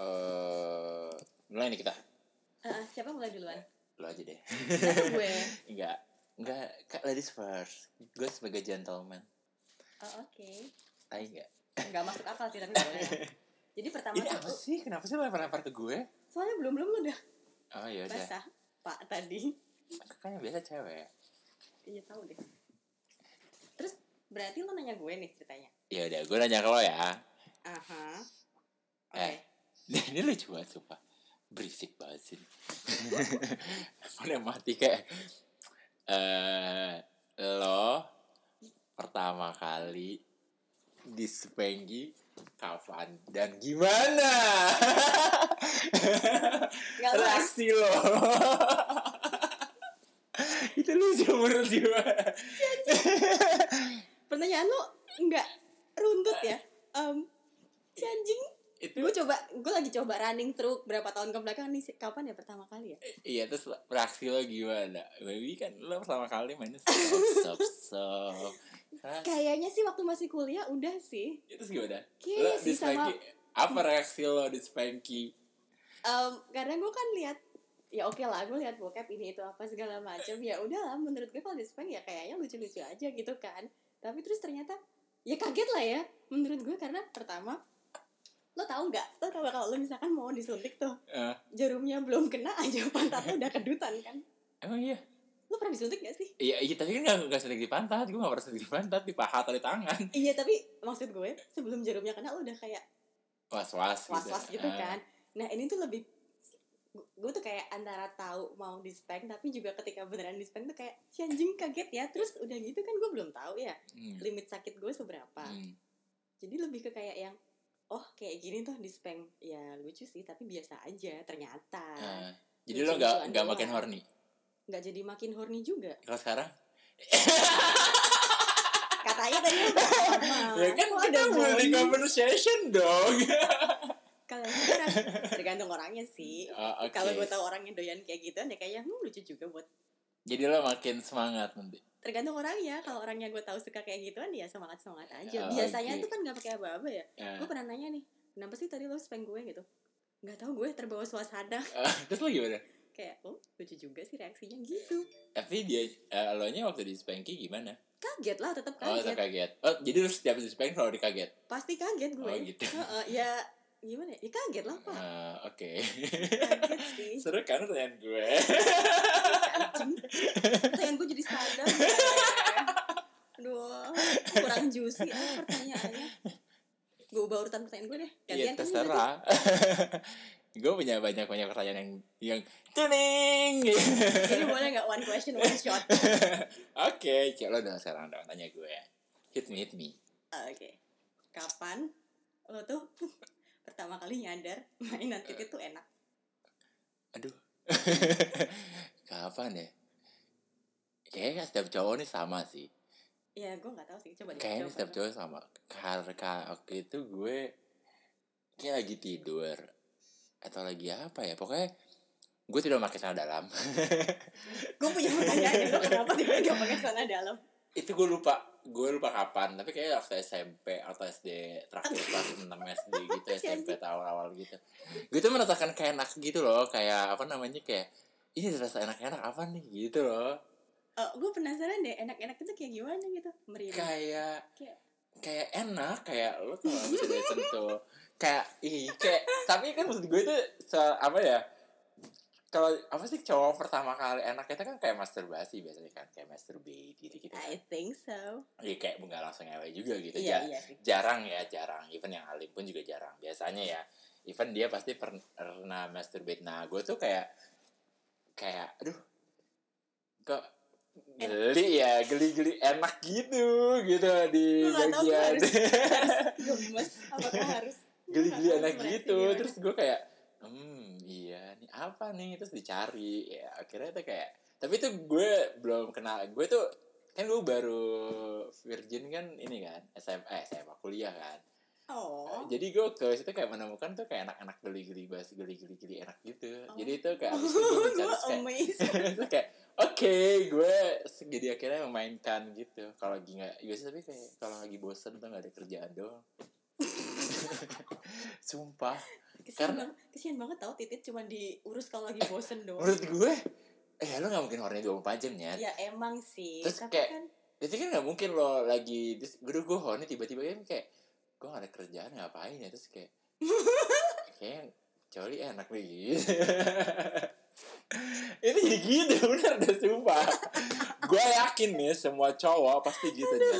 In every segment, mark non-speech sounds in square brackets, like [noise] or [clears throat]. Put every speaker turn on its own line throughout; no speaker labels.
Eh, Mulai nih kita.
Ah, siapa mulai duluan?
Lo aja deh.
Atau gue.
[laughs] Enggak. Enggak. Kak ladies first. Gue sebagai gentleman.
Oh, oke.
Tai [laughs] enggak?
Nggak masuk akal sih tapi boleh. Jadi pertama
Ini apa
tuh
sih? Kenapa sih lo lempar-lempar ke gue?
soalnya belum belum udah
Oh iya udah.
basah. Pak tadi.
Kan yang biasa cewek.
Iya tahu deh. Terus berarti lo nanya gue nih ceritanya.
Ya udah, gue nanya ke lo ya.
Aha. Oke.
Eh. [laughs] Ini lucu banget sumpah. Berisik banget sih. Udah mati kayak. eh lo pertama kali dispengi kapan dan gimana?
Nggak luas.
Reaksi lo. Itu lucu menurut gue.
Pertanyaan lo nggak runtut ya? Um, si anjing.
Itu
Gue coba, gue lagi coba running through berapa tahun ke belakang nih. Kapan ya pertama kali ya?
Iya terus reaksi lo gimana? Baby kan lo pertama kali mainnya sob sob sob. Hah? Ya,
Kayaknya sih waktu masih kuliah udah sih.
Terus gimana? Lo di
Kayaknya Iya, sih sama
Spanky apa reaksi lo di Spanky?
Em, karena gue kan lihat ya oke lah gue lihat bokep ini itu apa segala macam ya udahlah menurut gue kalau di Spanyol ya kayaknya lucu-lucu aja gitu kan tapi terus ternyata ya kaget lah ya menurut gue karena pertama lo tahu nggak lo kalau kalau lo misalkan mau disuntik tuh
Eh,
jarumnya belum kena aja [laughs] pantat lo udah kedutan kan
emang iya?
lo pernah disuntik gak sih
Iya, iya tapi kan gak, gak sedikit di pantat, gue gak pernah sedikit di pantat, di paha atau di tangan
iya tapi maksud gue sebelum jarumnya kena lo udah kayak
Was-was gitu
was-was gitu
Eh,
kan nah ini tuh lebih gue tuh kayak antara tahu mau di spank tapi juga ketika beneran di spank tuh kayak si anjing kaget ya terus udah gitu kan gue belum tahu ya
hmm,
limit sakit gue seberapa
hmm.
jadi lebih ke kayak yang oh kayak gini tuh di spank ya lucu sih tapi biasa aja ternyata
Eh, Jadi lo
Lucu-lucuan
gak, gak
doang.
makin horny?
nggak jadi makin horny juga
Kalau sekarang?
katanya tadi lu
[laughs]
udah hormat.
ya kan
Nah, Kok
kita
ada
mulai
bonus?
conversation
[laughs]
dong
kalau sekarang tergantung orangnya sih
Oh, oke.
kalau gue tahu orangnya doyan kayak gitu ya kayaknya hmm, lucu juga buat
Jadi lo makin semangat nanti
tergantung orangnya kalau orangnya gue tahu suka kayak gituan ya semangat semangat
Oh,
aja biasanya
oke.
tuh kan nggak pakai apa-apa ya
Eh,
gue pernah nanya nih kenapa sih tadi lo spam gue gitu nggak tahu gue terbawa suasana [laughs]
eh, Terus lo gimana?
kayak oh lucu juga sih reaksinya gitu
Tapi dia eh, lo nya waktu di Spanky gimana?
kaget lah tetap
Oh,
kaget
tetap kaget. Oh, jadi lu setiap di Spanky selalu dikaget.
pasti kaget gue
Oh, gitu.
Heeh, ya gimana ya? ya kaget lah
[laughs]
pak
Eh, oke.
kaget
[laughs]
sih
Seru kan pertanyaan gue?
anjing pertanyaan gue jadi standar [laughs] aduh kurang juicy ah pertanyaannya gue ubah urutan pertanyaan gue deh
Iya,
Gantian kan gitu. kamu berarti.
terserah. [laughs] gue punya banyak banyak pertanyaan yang yang tuning. [laughs]
jadi boleh nggak one question one shot
Oke, cek lo dong sekarang dong tanya gue. Hit me, hit me.
Oke. Kapan lo tuh [laughs] pertama kali nyadar mainan titik tuh enak?
Aduh. [laughs] Kapan ya? Kayaknya setiap cowok nih sama sih.
Ya gue nggak tahu sih. Coba deh.
Kayaknya
jawab
setiap
apa.
cowok sama Karena waktu itu gue Kayak lagi tidur Atau lagi apa ya Pokoknya Gue tidak pakai celana dalam [laughs]
Gue punya pertanyaan nih, lo kenapa tiba nggak pakai celana dalam?
Itu gue lupa Gue lupa kapan Tapi kayaknya waktu SMP Atau SD Terakhir kelas 6 SD gitu SMP atau awal-awal gitu Gue tuh merasakan kayak enak gitu loh Kayak apa namanya Kayak Ini rasa enak-enak apa nih gitu loh
Eh, gue penasaran deh. Enak-enak itu kayak gimana gitu? Merinding.
kayak
Kayak-
kayak enak kayak lo tuh nggak bisa disentuh kayak ih kayak tapi kan maksud gue itu se, apa ya kalau apa sih cowok pertama kali enak itu kan kayak masturbasi biasanya kan kayak masturbate gitu gitu
I think so.
ya kayak nggak langsung ngewe juga gitu
Nah, Iya
ja-
iya sih.
jarang ya jarang even yang alim pun juga jarang biasanya ya even dia pasti per- pernah masturbate nah gue tuh kayak kayak aduh kok geli ya geli geli enak gitu gitu di
Gue nggak tahu gue
bagian
harus, harus gemes. Apakah harus?
geli
Gua nggak
geli enak
tahu ekspresi
gitu
gimana.
terus gue kayak hmm iya nih apa nih terus dicari ya akhirnya itu kayak tapi itu gue belum kenal gue tuh kan gue baru virgin kan ini kan SMA eh, SMA kuliah kan
Oh.
jadi gue ke situ kayak menemukan tuh kayak anak-anak geli-geli bahas geli-geli enak gitu.
Oh.
Jadi itu kayak abis
[laughs]
itu gue
gue
bicara terus kayak, [laughs]
amazed.
terus kayak oke gue se- jadi ya
[laughs]
akhirnya memainkan gitu. Kalau lagi nggak biasanya tapi kayak kalau lagi bosen tuh nggak ada kerjaan doang. Sumpah.
Kesian,
Karena-
banget, kesian banget tau titit cuma diurus kalau lagi bosen doang.
Menurut gue, eh lu gak mungkin horny 24 jam, ya.
Ya emang sih.
Terus
tapi
kayak-
kan
Jadi kan gak mungkin lo lagi, terus gue gue horny tiba-tiba kan kayak, gue gak ada kerjaan ngapain ya, terus kayak, kayak coli enak nih [laughs] gitu. Ini jadi gitu, bener deh, sumpah. gue yakin nih, semua cowok pasti gitu, Jan.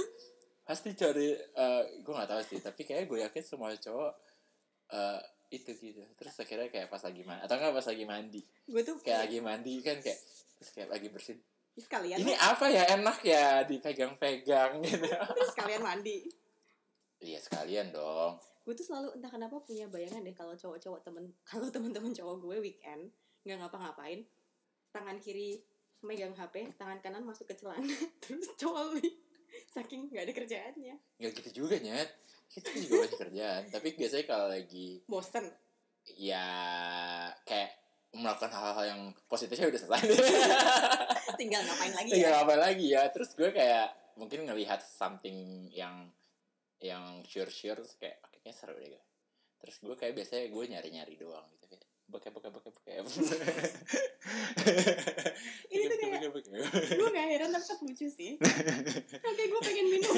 Pasti cari, eh gue gak tahu sih, tapi kayak gue yakin semua cowok eh itu gitu. Terus akhirnya kayak pas lagi mandi, atau gak pas lagi mandi.
gue tuh
Kayak lagi mandi kan kayak, terus kayak lagi bersin
Ih, sekalian
ini apa ya enak ya dipegang-pegang gitu. [laughs]
terus sekalian mandi.
Iya sekalian dong.
Gue tuh selalu entah kenapa punya bayangan deh kalau cowok-cowok temen [laughs] kalau teman-teman cowok gue weekend nggak ngapa-ngapain tangan kiri megang HP, tangan kanan masuk ke celana, [laughs] terus coli. Saking nggak ada kerjaannya.
Gak gitu juga nyet. Kita juga banyak kerjaan. Tapi biasanya kalau lagi
Bosen.
ya kayak melakukan hal-hal yang positifnya udah selesai.
Tinggal ngapain lagi
Tinggal
ya?
apa lagi ya. Terus gue kayak mungkin ngelihat something yang yang sure-sure terus kayak "Oh, kayaknya seru deh. gue." Terus gue kayak biasanya gue nyari-nyari doang gitu kayak bokep bokep bokep bokep.
Ini tuh
Bokep, [laughs]
kayak-
bokep, bokep.
gue gak heran tapi tetap lucu sih oke gue pengen minum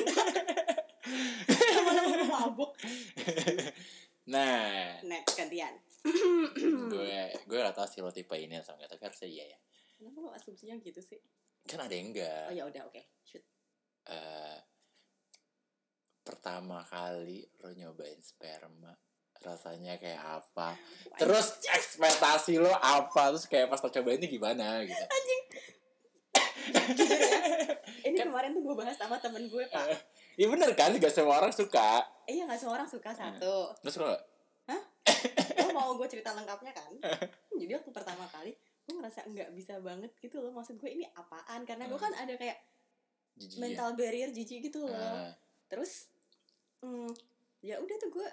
teman-teman gue mabuk
[laughs] Nah,
[clears throat] next gantian
gue gue gak tau sih lo tipe ini atau enggak tapi harusnya iya ya
kenapa lo asumsinya gitu sih
kan ada yang
oh
enggak
ya udah oke shoot
Eh, pertama kali lo nyobain sperma rasanya kayak apa terus
iya.
ekspektasi lo apa terus kayak pas lo cobain ini gimana gitu
Jujur ya, ini kemarin tuh gue bahas sama temen gue pak
Iya bener kan gak semua orang suka
eh ya gak semua orang
Iya.
suka satu
terus lo
lo mau gue cerita lengkapnya
[laughs]
kan jadi waktu pertama kali gue ngerasa nggak bisa banget gitu loh maksud gue ini apaan karena
Hmm.
gue kan ada kayak
jijik ya?
mental barrier jijik gitu loh
Eh,
terus mm, ya udah tuh gue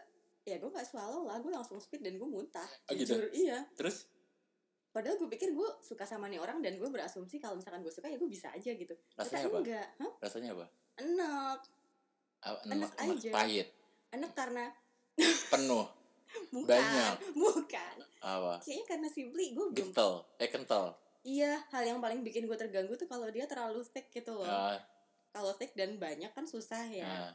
ya gue nggak swallow lah gue langsung speed dan gue muntah
Oh, gitu?
jujur iya
terus
padahal gue pikir gue suka sama nih orang dan gue berasumsi kalau misalkan gue suka ya gue bisa aja gitu
Rasanya
Ternyata
apa?
enggak Hah?
rasanya apa
enak
A-
Enak
enak-
aja.
pahit
enak karena
penuh
bukan
Banyak.
[laughs] bukan
apa
kayaknya karena simply gue belum
kental eh kental
iya hal yang paling bikin gue terganggu tuh kalau dia terlalu thick gitu loh
Ah,
kalau thick dan banyak kan susah ya
ah.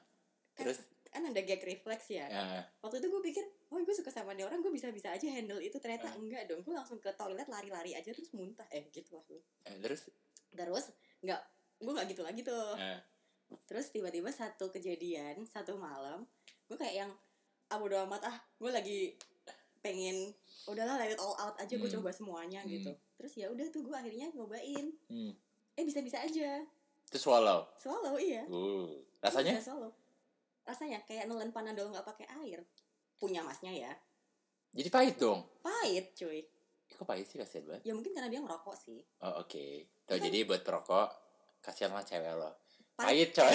terus
kan ada gag reflex ya
ah.
waktu itu gue pikir oh gue suka sama nih orang gue bisa bisa aja handle itu ternyata
Hmm.
enggak dong gue langsung ke toilet lari-lari aja terus muntah eh gitu lah gue
eh, terus
terus nggak gue nggak gitu lagi tuh
eh,
terus tiba-tiba satu kejadian satu malam gue kayak yang ah bodo amat ah gue lagi pengen udahlah let it all out aja gue
Hmm.
coba semuanya
Hmm.
gitu terus ya udah tuh gue akhirnya nyobain
hmm.
eh bisa-bisa aja
terus swallow
swallow iya
Uh, rasanya
Iya, swallow rasanya kayak nelen panadol nggak pakai air punya masnya ya
jadi pahit dong.
pahit cuy
Ih, Kok pahit sih kasihan banget.
ya mungkin karena dia ngerokok
[laughs]
sih
Oh oke. Tuh jadi buat perokok kasihan lah cewek lo. Pahit
Pahit. [laughs]
coy.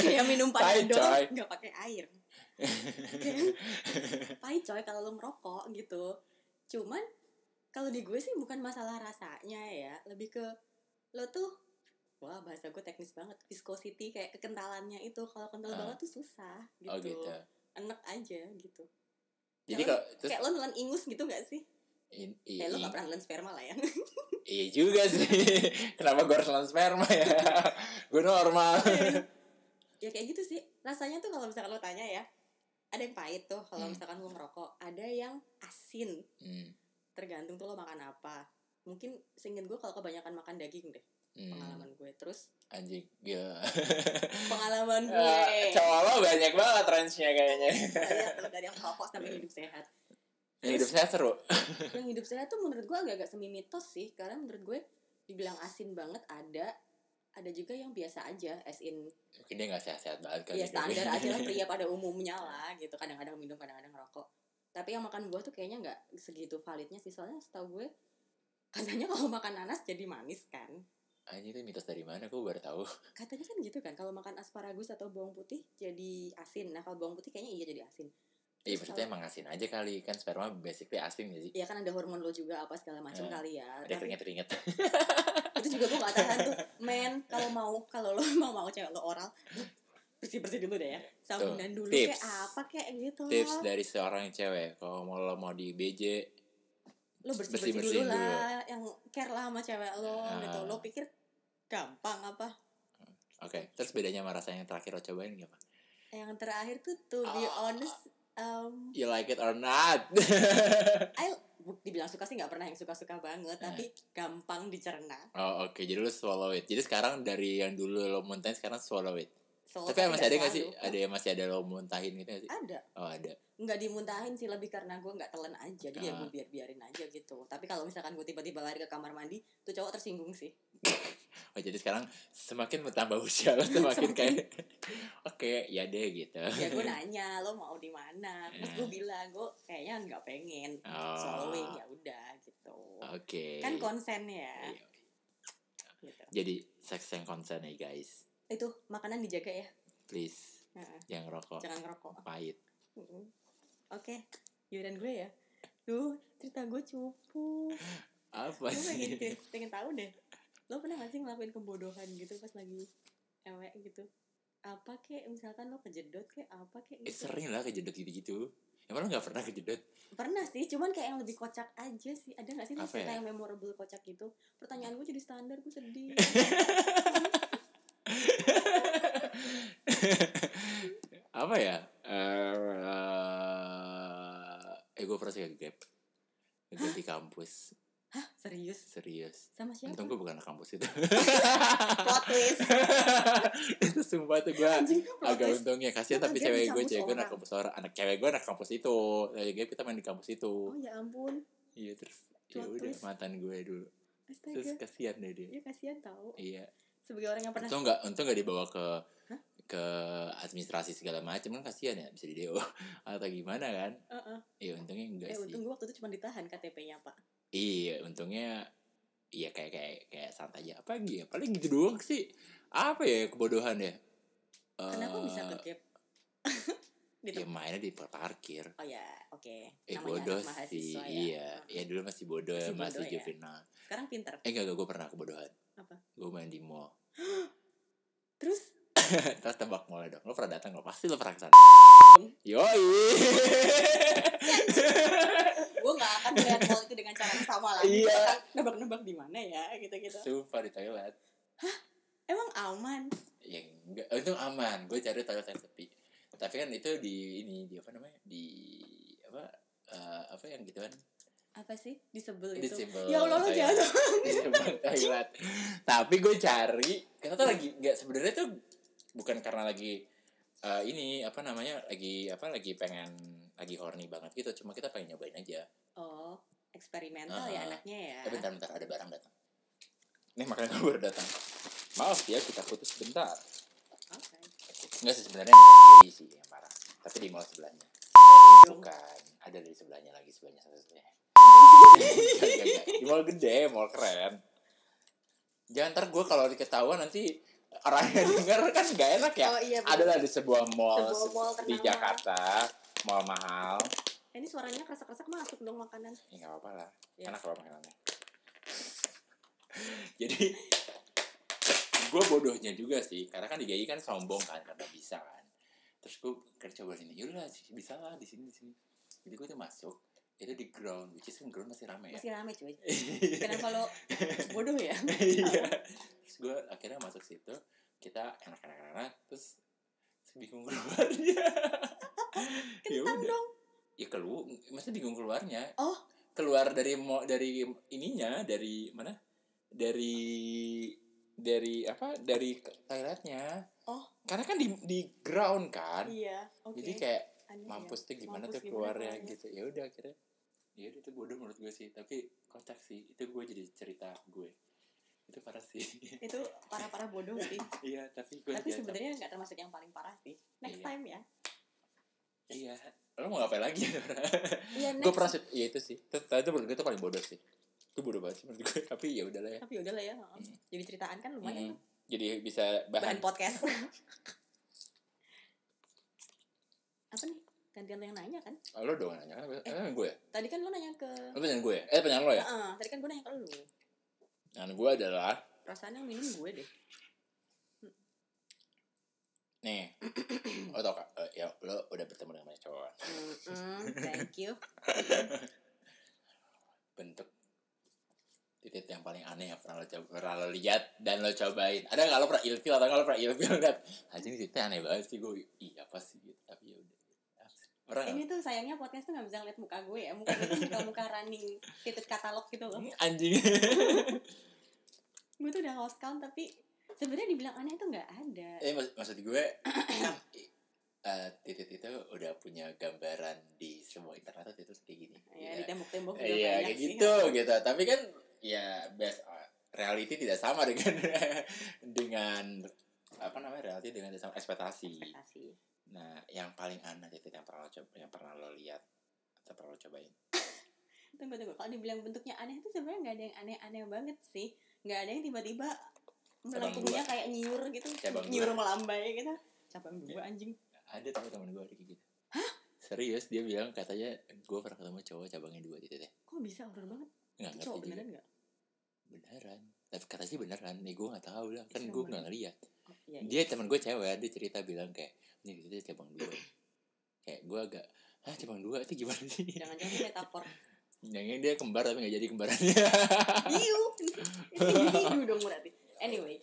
kayak minum
Pahit, coy.
panadol nggak pakai
[laughs]
air Kayak pahit coy kalau lu merokok gitu cuman kalau di gue sih bukan masalah rasanya ya lebih ke lo tuh wah bahasa gue teknis banget viscosity kayak kekentalannya itu kalau kental
Ah.
banget tuh susah gitu,
oh gitu.
enak aja gitu
Jadi
Kayak
kalau terus
kayak lo nelan ingus gitu gak sih
in- i-
ya lo
i-
gak pernah nelan sperma lah ya
iya juga sih. [laughs] Kenapa gue harus lawan sperma ya? [laughs] gue normal. [laughs]
ya kayak gitu sih rasanya tuh kalau misalkan lo tanya ya ada yang pahit tuh kalau
Hmm.
misalkan lo merokok ada yang asin
Hmm,
tergantung tuh lo makan apa mungkin seinget gue kalau kebanyakan makan daging deh
hmm,
pengalaman gue terus
Anjing. Gila. [laughs]
pengalaman gue
Eh, cowok lo banyak banget range-nya kayaknya.
Lihat tuh, dari yang rokok sampai hidup sehat
Yang hidup saya seru.
yang hidup sehat tuh menurut gue agak-agak semi mitos sih karena menurut gue dibilang asin banget ada ada juga yang biasa aja as in
Mungkin dia gak sehat-sehat banget kali. gitu.
ya
[laughs]
standar
hidupnya.
aja lah pria pada umumnya lah gitu kadang-kadang minum kadang-kadang rokok tapi yang makan buah tuh kayaknya nggak segitu validnya sih soalnya setahu gue katanya [laughs] kalau makan nanas jadi manis kan
[laughs] Anjing itu mitos dari mana? Gue baru tahu.
katanya kan gitu kan kalau makan asparagus atau bawang putih jadi asin nah kalau bawang putih kayaknya iya jadi asin
Iya
Terus
berarti
kalau-
emang asin aja kali kan sperma basically asin ya sih.
ya kan ada hormon lo juga apa segala macam
Eh,
kali ya
Ada
tapi
keringet keringet. [laughs]
[laughs] itu juga gue gak tahan tuh men kalau mau kalau lo emang mau cewek lo oral bersih bersih dulu deh ya sabunan dulu
Tips.
kayak apa kayak gitu
Tips
lah
dari seorang cewek kalau mau lo mau di BJ
lo bersih bersih dulu
bersih-bersihin dulu.
lah yang care lah sama cewek lo
Ah.
gitu lo pikir gampang apa
Oke, terus bedanya sama rasanya yang terakhir lo cobain gak?
yang terakhir tuh to be
Ah.
honest um,
You like it or not? [laughs]
I bu- dibilang suka sih nggak pernah yang suka suka banget
Eh.
tapi gampang dicerna
oh oke, jadi lo swallow it. Jadi sekarang dari yang dulu lo muntahin sekarang swallow it.
Selalu
Tapi masih ada
Oh, nggak
gak sih?
selalu.
Ada yang masih ada lo muntahin gitu gak sih?
ada
Oh ada.
nggak dimuntahin sih lebih karena gue nggak telan aja jadi ya
Ah.
gue biar biarin aja gitu tapi kalau misalkan gue tiba-tiba lari ke kamar mandi tuh cowok tersinggung sih
Oh jadi sekarang semakin bertambah [laughs] usia lo semakin kayak [laughs] oke ya deh gitu.
ya
[laughs]
gue nanya lo mau di mana
Ya.
terus gue bilang gue kayaknya nggak pengen
Oh.
swallowing ya udah gitu
Oke.
kan konsen ya
Iya.
gitu.
Jadi seks yang konsen nih guys,
itu makanan dijaga ya
please
Heeh.
jangan rokok.
jangan ngerokok
Pahit.
Mm-mm. oke yuran gue ya duh cerita gue cupu
Apa
gue pengen
sih?
pengen- pengen tahu deh lo pernah gak sih ngelakuin kebodohan gitu pas lagi ewe gitu apa kek misalkan lo kejedot kek apa
[laughs]
kek
Eh,
gitu.
sering lah kejedot gitu-gitu. Emang lo gak pernah kejedot?
pernah sih cuman kayak yang lebih kocak aja sih ada gak sih lo
Apa
cerita
ya?
yang memorable kocak gitu pertanyaan gue jadi standar gue sedih
[laughs] Apa ya? Eh, eh gue pernah sih gap. Gap di kampus.
hah serius
Serius.
sama siapa
Untung gue bukan anak kampus itu. [laughs]
plot twist
itu sumpah tuh gue
anjing plot
[laughs] agak
twist
untungnya kasihan
Kita
tapi
gap di
cewek gue cewek
kampus
gue anak
orang.
kampus orang anak cewek gue anak kampus itu lagi gap kita main di kampus itu
oh ya ampun
iya terus ya
Plot
udah
twist.
mantan gue dulu terus
astaga
kasihan deh dia
ya kasihan tau
iya
sebagai orang yang pernah
untung nggak untung nggak dibawa ke
Hah?
ke administrasi segala macam kan kasihan ya bisa di DO [laughs] atau gimana kan
Heeh.
iya untungnya enggak
eh
sih
untung gue waktu itu cuma ditahan KTP-nya pak
iya untungnya iya kayak kayak kayak santai aja apa gitu ya? paling gitu doang sih apa ya kebodohan ya
kenapa bisa
Eh,
ke [laughs] gap gitu
Ya mainnya di tempat parkir.
Oh ya, oke.
Eh
Namanya
bodoh
anak mahasiswa
sih.
ya.
Iya.
Hmm.
Ya dulu masih bodoh,
Masih
masih,
bodoh ya.
juvenal.
Sekarang pinter.
Eh enggak, enggak gue pernah kebodohan.
Apa?
Gue main di mall.
Terus
Terus tebak mall dong. Lo pernah datang nggak? Pasti lo pernah kesana. Yoi. [laughs]
gue gak akan melihat mall itu dengan cara yang sama lagi.
Iya.
Kan [laughs] Nebak-nebak di mana ya, gitu-gitu.
Sumpah di toilet.
Emang aman.
Ya enggak. Itu aman. Gue cari toilet yang sepi. Tapi kan itu di ini di apa namanya? Di apa? eh, apa yang gitu kan?
Apa sih di sebel
Di
itu?
sebel
ya Allah lo
toilet.
jangan.
[laughs] Di sebel toilet. Tapi gue cari, kita tuh lagi nggak sebenarnya tuh bukan karena lagi eh, ini apa namanya lagi apa lagi pengen lagi horny banget gitu, cuma kita pengen nyobain aja.
Oh,
Ah.
eksperimental ya anaknya ya.
Eh bentar bentar ada barang datang. Nih makanya gue baru datang. Maaf ya kita putus sebentar.
Oke.
Enggak sih sebenarnya di sih yang parah. Tapi di mall sebelahnya.
Dong.
Bukan, ada di sebelahnya lagi sebelahnya satunya. [laughs] di mall gede, mall keren. Jangan ntar gue kalau diketahuan nanti orang yang [laughs] denger kan gak enak ya.
Oh iya. bener.
Adalah di sebuah mall,
Sebuah mall
di
ternama.
Jakarta, mall mahal.
Eh, Ini suaranya keresek-keresek masuk dong makanan.
Ya nggak apa-apa lah,
Ya.
enak kalau makanannya. [laughs] Jadi gue bodohnya juga sih, karena kan di GI kan sombong kan karena bisa kan. Terus gue kerja coba sini, yaudah bisa lah di sini di sini. Jadi gue tuh masuk, itu di ground, which is kan ground masih rame ya.
Masih rame cuy. Kenapa lo bodoh ya?
[laughs] iya terus gue akhirnya masuk situ kita enak-enak-enak terus bingung keluarnya [laughs] ya
Kentang
udah
dong.
ya kelu masa bingung keluarnya
Oh.
keluar dari mo dari ininya dari mana dari dari apa dari ke- toiletnya
Oh.
karena kan di di ground kan
Iya. Oke.
jadi kayak
Aneh ya.
mampus tuh gimana tuh
Mampus gimana
keluarnya
keluarnya.
gitu ya udah akhirnya ya udah itu bodoh menurut gue sih tapi kocak sih itu gue jadi cerita gue itu parah sih [laughs]
Itu parah-parah bodoh sih.
iya tapi gue
Tapi
jatuh.
sebenarnya nggak termasuk yang paling parah sih.
Iya.
Next time ya.
iya lo mau ngapain lagi [laughs]
Iya
gue pernah sih ya itu sih itu itu menurut gue itu paling bodoh sih itu bodoh banget sih menurut gue tapi ya udahlah ya
Tapi udah lah ya. heeh.
Hmm.
Jadi ceritaan kan
Mm.
lumayan tuh.
jadi bisa
bahan
bahan [laughs]
podcast. Apa nih? Gantian lo yang nanya kan?
Oh, lo dong yang nanya kan eh, gue ya?
Tadi kan lo nanya ke
lo pertanyaan gue ya? eh pertanyaan lo ya
Heeh, tadi kan gue nanya ke lo.
pertanyaan gue adalah
Perasaan yang minum gue deh.
nih eh, ya, kan? [laughs]
you
bentuk titik yang paling aneh yang pernah lo coba pernah lo lihat dan lo cobain ada nggak lo pernah ilfil atau nggak lo pernah ilfil lihat anjing titiknya aneh banget sih gue iya apa sih gitu tapi ya udah pernah nggak?
ini tuh sayangnya podcast tuh nggak bisa ngeliat muka gue ya muka gue tuh muka muka running titik katalog gitu loh
anjing
gue tuh udah lost count tapi sebenarnya dibilang aneh tuh nggak ada
eh mak- maksud gue kan eh, titik itu udah punya gambaran di semua internet titik kayak gini
ya di tembok-tembok juga
Iya
banyak
kayak
sih.
gitu gitu. Tapi kan ya best reality tidak sama dengan [laughs] dengan apa namanya reality dengan sama ekspektasi.
ekspektasi
Nah, yang paling aneh itu yang pernah lo coba, yang pernah lo lihat atau pernah lo cobain.
tunggu tunggu kalau dibilang bentuknya aneh itu sebenarnya nggak ada yang aneh-aneh banget sih nggak ada yang tiba-tiba melengkungnya
dua.
kayak nyiur gitu
Cabang dua. Iya.
nyiur melambai gitu cabang dua anjing
Ada teman teman gue ada kayak gitu. Serius dia bilang katanya gue pernah ketemu cowok cabangnya dua gitu deh.
kok bisa horor banget
Nggak
itu
ngerti
cowok
juga.
beneran nggak
Beneran. Tapi katanya sih beneran. Nih gue nggak tahu lah. Kan
Serem
gue
banget.
nggak ngeliat.
Oh, iya,
[laughs]
iya.
dia teman gue cewek dia cerita bilang kayak ini gitu dia cabang dua kayak gue agak ah cabang dua itu gimana sih
jangan-jangan itu metafor
yang dia kembar tapi nggak jadi kembarannya [laughs]
hiu hiu dong berarti anyway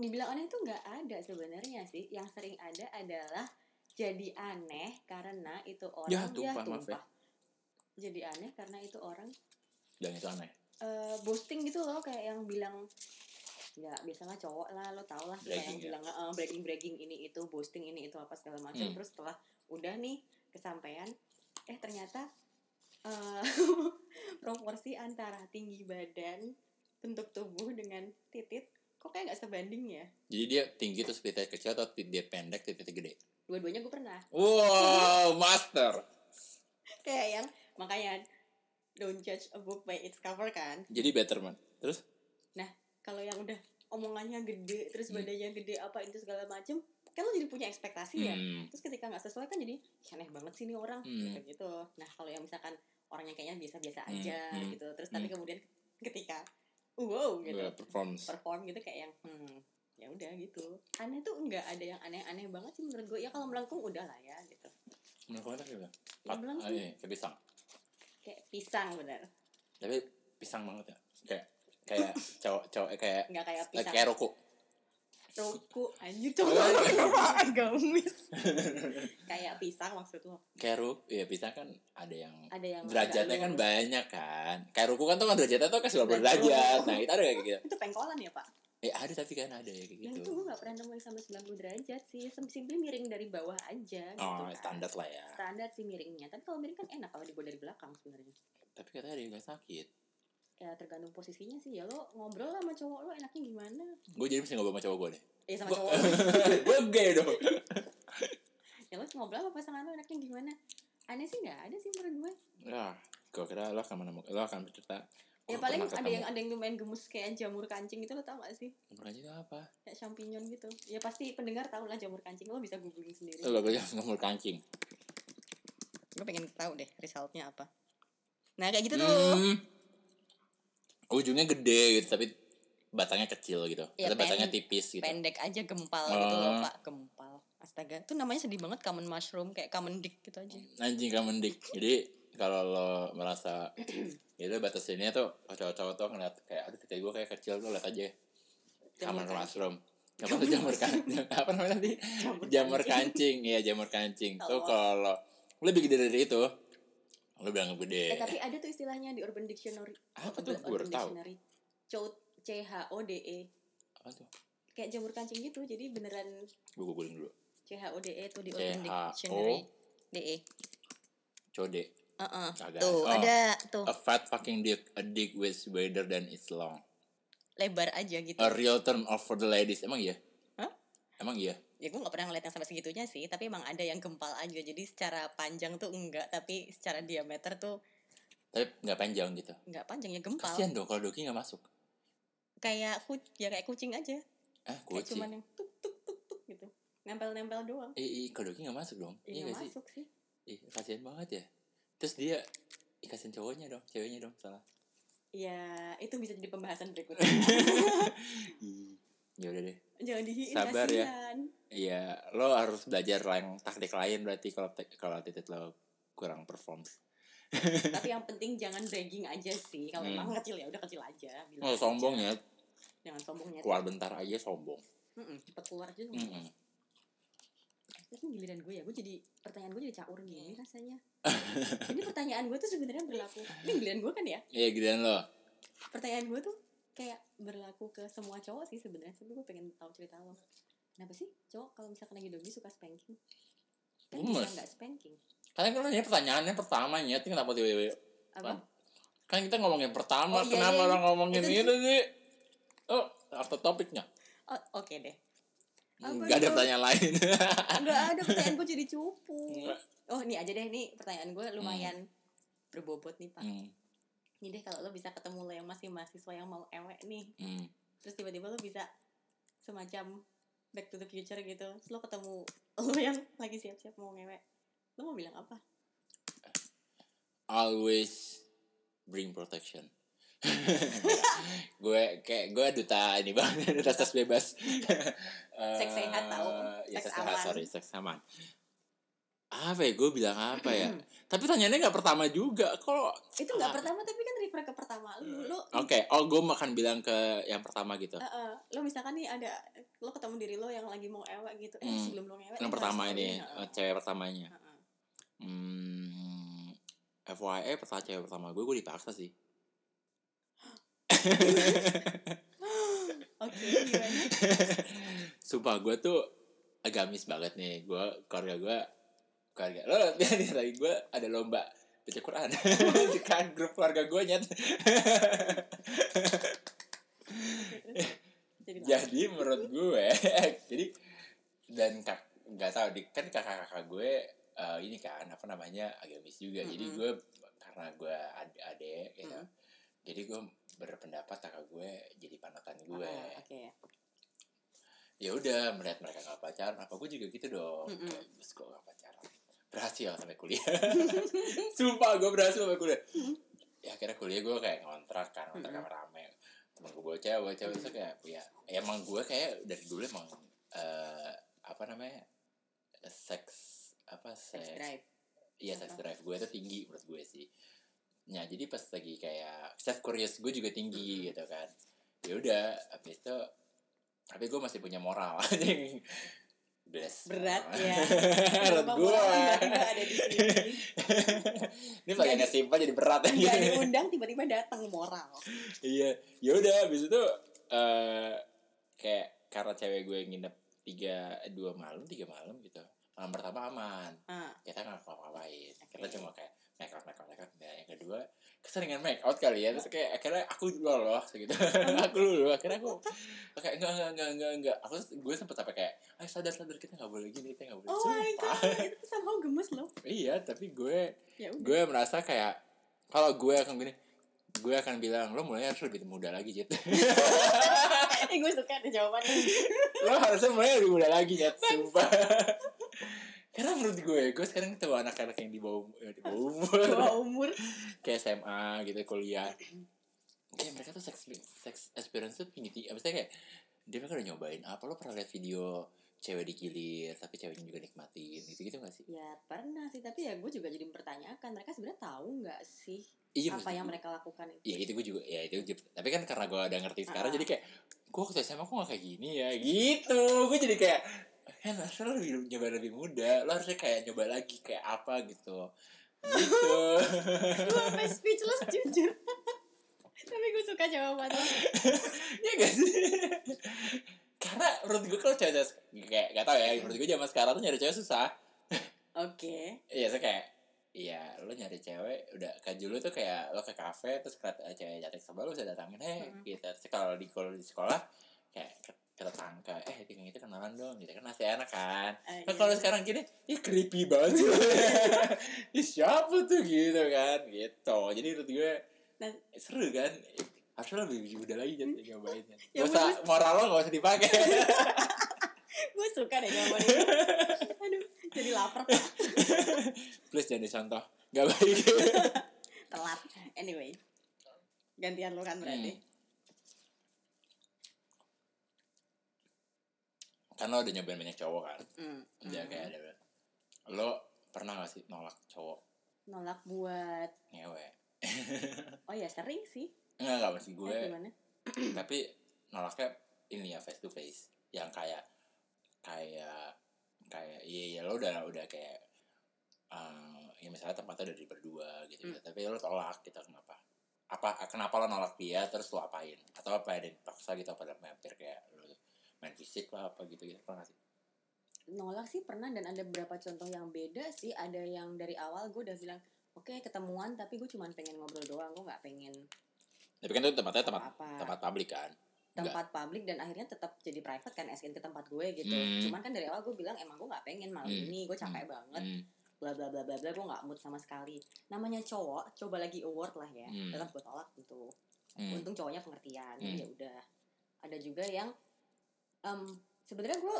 dibilang aneh itu nggak ada sebenarnya sih yang sering ada adalah jadi aneh karena itu orang
Ya,
ya,
tumpah, maaf ya.
jadi aneh karena itu orang
dan itu aneh
eh, boosting gitu loh kayak yang bilang ya biasanya cowok lah lo tau lah suka yang
Bragging ya.
bilang eh, bragging bragging ini itu boosting ini itu apa segala macam
Hmm.
terus setelah udah nih kesampaian eh ternyata eh, [laughs] proporsi antara tinggi badan bentuk tubuh dengan titit kok kayak nggak sebanding ya
jadi dia tinggi terus titiknya kecil atau titik dia pendek titiknya gede
dua-duanya gue
[laughs]
pernah
wow master
kayak yang makanya don't judge a book by its cover kan
jadi better man terus
kalau yang udah omongannya gede terus
Hmm.
badannya gede apa itu segala macem kan lo jadi punya ekspektasi ya
hmm,
terus ketika nggak sesuai kan jadi "Ih, aneh banget sih ini orang
Hmm.
gitu gitu nah kalau yang misalkan orangnya kayaknya biasa-biasa
Hmm,
aja
hmm,
gitu terus tapi
hmm.
kemudian ketika wow gitu
eh, performance
perform gitu kayak yang hmm ya udah gitu aneh tuh nggak ada yang aneh-aneh banget sih menurut gue ya kalau melengkung udah lah ya gitu
menurut kamu tadi bilang
ya
ini Ah,
melengkung
iya, kayak pisang
kayak pisang bener
tapi pisang banget ya kayak kayak cowok cowok kayak
nggak kayak
eh,
pisang
kayak rokok
Roku
[laughs]
anjir tuh [laughs] apaan, gamis kayak pisang maksud lo
kayak rok ya pisang kan ada yang
ada yang
derajatnya
agak
kan
lurus.
banyak kan kayak ruku kan tuh kan derajatnya tuh kan 90
Derajat.
derajat nah itu ada kayak gitu
itu pengkolan ya pak
ya ada tapi kan ada ya kayak gitu
yang Nah, itu gue gak pernah nemuin sampai 90 derajat sih Sim- simply miring dari bawah aja gitu
oh
kan.
standar lah ya
standar sih miringnya tapi kalau miring kan enak kalau dibuat dari belakang sebenarnya
tapi katanya ada yang gak sakit
ya tergantung posisinya sih ya lo ngobrol sama cowok lo enaknya gimana
gue jadi mesti ngobrol sama cowok gue deh
ya sama
[laughs] Gua-
cowok lo.
gue gay dong
ya lo ngobrol sama pasangan lo enaknya gimana aneh sih nggak ada sih menurut gue
ya gue kira lo akan menemukan lo akan cerita
ya paling ada yang ada yang lumayan gemes kayak jamur kancing itu lo tau gak sih
Nomor kancing itu apa?
kayak champignon gitu ya pasti pendengar tau lah jamur kancing lo bisa googling sendiri
Lo gak nomor kancing
gue pengen tahu deh resultnya apa nah kayak gitu
hmm, Ujungnya gede gitu Tapi batangnya kecil gitu Atau
Ya,
batangnya
pendek.
tipis gitu
pendek aja gempal gitu loh
Ah.
pak gempal astaga tuh namanya sedih banget common mushroom kayak common dick gitu aja
anjing kamu mendik jadi kalau lo merasa [clears throat] itu batasinnya tuh kalau cowok-cowok tuh ngeliat kayak aduh titik gue kayak kecil tuh liat aja kamar classroom apa tuh jamur kancing [laughs] apa namanya tadi jamur kancing iya jamur kancing tuh
Kalau-
kalau lo lebih gede dari itu lo bilang gede
eh tapi ada tuh istilahnya di urban dictionary
apa tuh
Urban
gue baru tahu
Dictionary. Code C H O D E
apa tuh
kayak jamur kancing gitu jadi beneran
gue googling dulu
C H O D E tuh di
C
urban
H
dictionary
O
D E
code
Heeh.
Kagak.
tuh
Oh.
ada tuh
a fat fucking dick a dick with wider than it's long
lebar aja gitu
a real term of for the ladies emang iya
Hah?
emang iya
ya gue nggak pernah ngeliat yang sampai segitunya sih tapi emang ada yang gempal aja jadi secara panjang tuh enggak tapi secara diameter tuh
tapi nggak panjang gitu
enggak panjang ya gempal
kasian dong kalau Doki nggak masuk
kayak ku ya kayak kucing aja
ah
kayak
kucing
Eh, cuman yang tuk tuk tuk tuk gitu nempel-nempel doang
eh, eh kalau Doki nggak masuk dong iya
ya, nggak
nggak sih
masuk sih
eh, kasian banget ya terus dia eh, kasian cowoknya dong ceweknya dong salah
ya itu bisa jadi pembahasan berikutnya
[laughs]
Hmm.
ya udah deh
jangan dihiin
Sabar ya.
kasihan.
Iya, lo harus belajar lain taktik lain berarti kalau te- kalau titik lo kurang perform
tapi yang penting jangan bragging aja sih kalau
Hmm.
memang kecil ya udah kecil aja bilang
oh,
aja.
sombong ya
jangan sombongnya
keluar bentar aja sombong
Mm-mm, cepet keluar aja sombong.
Mm-mm.
terus ini giliran gue ya gue jadi pertanyaan gue jadi caur gini
Hmm. [laughs]
rasanya ini pertanyaan gue tuh sebenarnya berlaku ini giliran gue kan ya
iya gedean lo
pertanyaan gue tuh kayak berlaku ke semua cowok sih sebenarnya tapi gue pengen tahu cerita lo kenapa sih cowok kalau misalkan lagi dogi suka spanking kan
Gemes.
bisa nggak spanking
karena kan ini pertanyaannya pertamanya Ting, kenapa tiba-tiba
apa
kan kita ngomongin pertama
Oh, iya,
kenapa
iya,
orang ngomongin
Itu-
itu, sih oh after topiknya
Oh, oke deh Apa
Hmm, nggak ada
itu?
pertanyaan
[laughs]
lain
nggak ada pertanyaan gue jadi cupu
Nggak.
oh ini aja deh nih pertanyaan gue lumayan berbobot nih pak
Hmm,
ini deh kalau lo bisa ketemu lo yang masih mahasiswa yang mau ewe nih
hmm.
terus tiba-tiba lo bisa semacam back to the future gitu terus lo ketemu lo yang lagi siap-siap mau ngewe lo mau bilang apa
always bring
[laughs]
protection gue kayak gue duta ini banget [laughs] duta seks bebas Eh,
[laughs] Seks sehat tau.
ya,
Seks
seks sehat
aman.
sorry seks aman apa ya gue bilang apa
[clears throat]
ya tapi pertanyaannya nggak pertama juga kok
itu nggak
Ah.
pertama tapi kan refer ke pertama lo lo
oke oh gue makan bilang ke yang pertama gitu
Hmm. Eh, eh, lo misalkan nih ada lo ketemu diri lo yang lagi mau ewe gitu eh
Hmm.
sebelum lo ngewe
yang
lo
pertama
harus
ini eh,
tahu Heeh.
cewek pertamanya
Heeh.
hmm, FYI pertama cewek pertama gue gue dipaksa sih
oke
[laughs]
gimana
Sumpah gue tuh agamis banget nih gue keluarga gue keluarga lo lihat nih [laughs] tadi gue ada lomba baca Quran [laughs] di kan grup keluarga gue nyet
Terus? jadi lama.
jadi menurut gue [laughs] jadi dan kak nggak tahu di kan kakak kakak gue eh, ini kan apa namanya agamis juga jadi
Mm-mm.
gue karena gue ad adek gitu
Mm-mm.
jadi gue berpendapat kakak gue jadi panutan gue
Ah, oke
ya udah melihat mereka nggak pacaran apa gue juga gitu dong
Mm-mm.
Kayak, terus gue nggak pacaran berhasil sampai kuliah [laughs] sumpah gue berhasil sampai kuliah ya akhirnya kuliah gue kayak ngontrak kan ngontrak
Mm-mm.
sama rame temen gue bawa cewek cewek itu kayak ya emang gue kayak dari dulu emang eh, apa namanya seks apa
sex
seks
drive
Iya sex drive gue tuh tinggi menurut gue sih. Nah jadi pas lagi kayak self curious gue juga tinggi gitu kan. Ya udah habis itu tapi gue masih punya moral [laughs] anjing. Bless. [laughs]
berat ya
[laughs] Menurut
Kenapa
gue.
moral tiba-tiba ada di
[laughs]
sini
Ini paling
Nggak
simpel jadi berat
nggak
aja.
diundang tiba-tiba datang moral
[laughs] Iya, ya udah habis itu eh kayak karena cewek gue nginep tiga dua malam tiga malam gitu. Malam pertama aman,
Ah.
kita nggak ngapa-ngapain. Kita
Oke.
cuma kayak make out, make out, make out. Nah, yang kedua keseringan make out kali ya. Terus kayak akhirnya aku lolos gitu.
Hmm.
[laughs] aku lulu akhirnya aku kayak enggak enggak enggak enggak enggak. Aku gue sempet sampai kayak, ayo sadar sadar kita nggak boleh gini, kita nggak boleh.
oh my
Nah, Sumpah.
god itu tuh somehow gemes loh
Iya, tapi gue
ya
[laughs]
udah
gue merasa kayak kalau gue akan gini gue akan bilang lo mulai harus lebih muda lagi Jet
eh gue suka ada jawabannya
[laughs] lo harusnya mulai lebih muda lagi Jet sumpah [laughs] karena menurut gue gue sekarang ketemu anak-anak yang di bawah eh, di bawah umur
dua umur
kayak SMA gitu kuliah kayak mereka tuh seks seks experience tuh tinggi tinggi maksudnya kayak dia mereka udah nyobain apa lo pernah lihat video cewek digilir tapi ceweknya juga nikmatin gitu gitu gak sih
ya pernah sih tapi ya gue juga jadi mempertanyakan mereka sebenarnya tahu nggak sih
iya
apa
maksud
yang
gue.
mereka lakukan itu
ya itu gue juga ya itu juga. tapi kan karena gue udah ngerti sekarang
Ah.
jadi kayak gue waktu SMA kok gak kayak gini ya gitu gue jadi kayak kan harusnya lo lebih nyoba lebih muda lo harusnya kayak nyoba lagi kayak apa gitu gitu
[laughs] gue sampai speechless jujur [laughs] tapi gue suka jawabannya
ya gak sih [laughs] karena menurut gue kalau cewek kayak gak tau ya menurut gue zaman sekarang tuh nyari cewek susah
oke
Iya, saya kayak Iya, lo nyari cewek udah kan dulu tuh kayak lo ke kafe terus keliat eh, cewek cantik sebelah lo bisa datangin eh
Mm.
gitu. Terus kalau di kalau di sekolah kayak ke- kita tangka eh dengan itu kenalan dong gitu kan masih enak kan.
Eh,
Nah, kalau
iya.
sekarang gini, ih creepy
[laughs]
banget. Ih siapa tuh gitu kan gitu. Jadi menurut gue
Nah.
seru kan. Harusnya lebih udah lagi jadi nyobainnya.
Ya,
Gak usah moral lo gak usah
[laughs]
dipakai.
gue suka deh jawabannya aduh jadi lapar Pak.
Please jangan dicontoh. Gak
[laughs]
baik.
telat anyway gantian lo kan berarti
kan lo udah nyobain banyak cowok kan.
Hmm.
Udah
Hmm.
kayak ada lo pernah gak sih nolak cowok
nolak buat
ngewe
oh ya sering sih
enggak enggak masih
Eh,
gue
gimana
tapi nolaknya ini ya face to face yang kayak kayak kayak iya iya lo udah udah kayak eh ya misalnya tempatnya udah di berdua gitu, gitu. tapi lo tolak gitu kenapa apa kenapa lo nolak dia terus lo apain atau apa ada yang dipaksa gitu apa ada mampir kayak lo main fisik lah apa gitu gitu pernah nggak sih
nolak sih pernah dan ada beberapa contoh yang beda sih ada yang dari awal gue udah bilang oke ketemuan tapi gue cuman pengen ngobrol doang gue nggak pengen
tapi kan itu tempatnya tempat
apa
tempat publik kan
tempat publik dan akhirnya tetap jadi private kan SN ke tempat gue gitu
Hmm.
cuman kan dari awal gue bilang emang gue nggak pengen malam
Hmm.
ini gue capek banget
Hmm.
bla bla bla bla bla gue nggak mood sama sekali namanya cowok coba lagi award lah ya
Hmm.
tetap gue tolak gitu
Hmm.
untung cowoknya pengertian
Hmm.
ya udah ada juga yang em, sebenarnya gue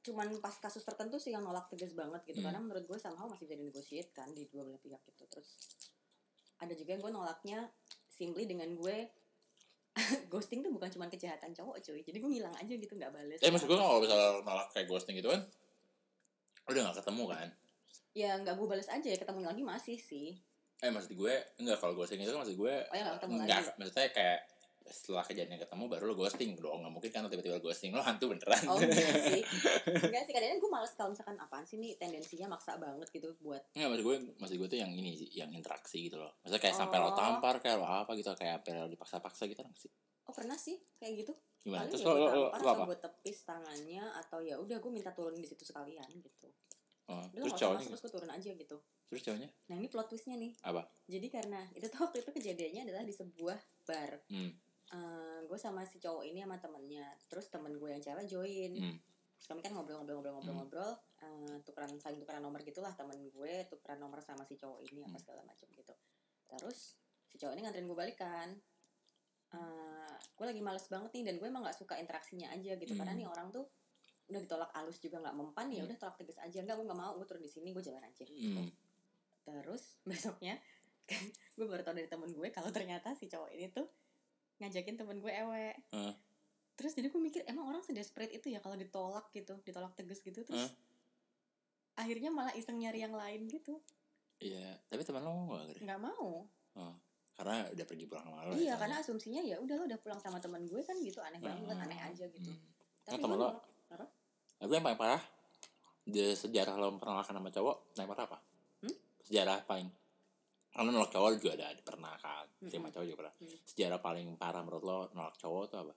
cuman pas kasus tertentu sih yang nolak tegas banget gitu
Hmm.
karena menurut gue somehow masih bisa negosiasi kan di dua belah pihak gitu terus ada juga yang gue nolaknya simply dengan gue [laughs] ghosting tuh bukan cuman kejahatan cowok cuy jadi gue ngilang aja gitu nggak bales
eh maksud gue kalau misalnya lo nolak kayak ghosting gitu kan lo udah gak ketemu kan
ya nggak gue bales aja ya ketemu lagi masih sih
Eh maksud gue enggak kalau ghosting itu kan maksud gue
Oh, ya, nggak ketemu
enggak,
lagi.
maksudnya kayak setelah kejadian ketemu baru lo ghosting dong nggak mungkin kan lo tiba-tiba ghosting lo hantu beneran [laughs]
oh enggak sih enggak sih kadang-kadang gue males kalau misalkan apaan sih nih tendensinya maksa banget gitu buat
Enggak maksud gue maksud gue tuh yang ini sih, yang interaksi gitu loh maksudnya kayak sampai lo
Oh.
tampar kayak lo apa gitu kayak sampai lo dipaksa-paksa gitu nggak sih
oh pernah sih kayak gitu
gimana
Paling
terus
ya
lo
gua
lo, lo,
tampar
lo
atau
apa
gua tepis tangannya atau ya udah gue minta turunin di situ sekalian gitu.
Oh,
Udah
terus
nggak usah
cowoknya
masuk, terus gue turun aja gitu.
terus cowoknya
Nah ini plot twistnya nih.
Apa?
Jadi karena itu tuh waktu itu kejadiannya adalah di sebuah bar.
hmm,
gue sama si cowok ini sama temennya. Terus temen gue yang cewek join.
hmm,
Terus kami kan ngobrol-ngobrol-ngobrol-ngobrol-ngobrol. eh, tukeran saling tukeran nomor gitulah temen gue tukeran nomor sama si cowok ini apa
Hmm.
segala macam gitu. Terus si cowok ini nganterin gue balikan. Eh, gue lagi males banget nih dan gue emang nggak suka interaksinya aja gitu karena
Hmm.
nih orang tuh udah ditolak alus juga nggak mempan ya
Hmm.
udah tolak tegas aja nggak gue nggak mau gue turun di sini gue jalan aja
hmm.
terus [laughs] besoknya gue baru tau dari temen gue kalau ternyata si cowok ini tuh ngajakin temen gue ewe
Hah?
terus jadi gue mikir emang orang sedesperate itu ya kalau ditolak gitu ditolak tegas gitu terus
Hah?
akhirnya malah iseng nyari yang lain gitu
iya tapi teman lo mau gak
nggak mau
karena udah pergi pulang sama lo ya,
iya karena asumsinya ya udah lo udah pulang sama temen gue kan gitu aneh banget
Hmm.
aneh aja gitu
Hmm. Nah,
tapi
temen
gue
lo-
nolak. apa?
Nah, gue yang paling parah di sejarah lo penolakan sama cowok paling parah apa?
Hmm?
Sejarah paling karena nolak cowok juga ada, ada pernah kan, terima
Mm-mm.
cowok juga pernah.
Mm.
Sejarah paling parah menurut lo nolak cowok tuh apa?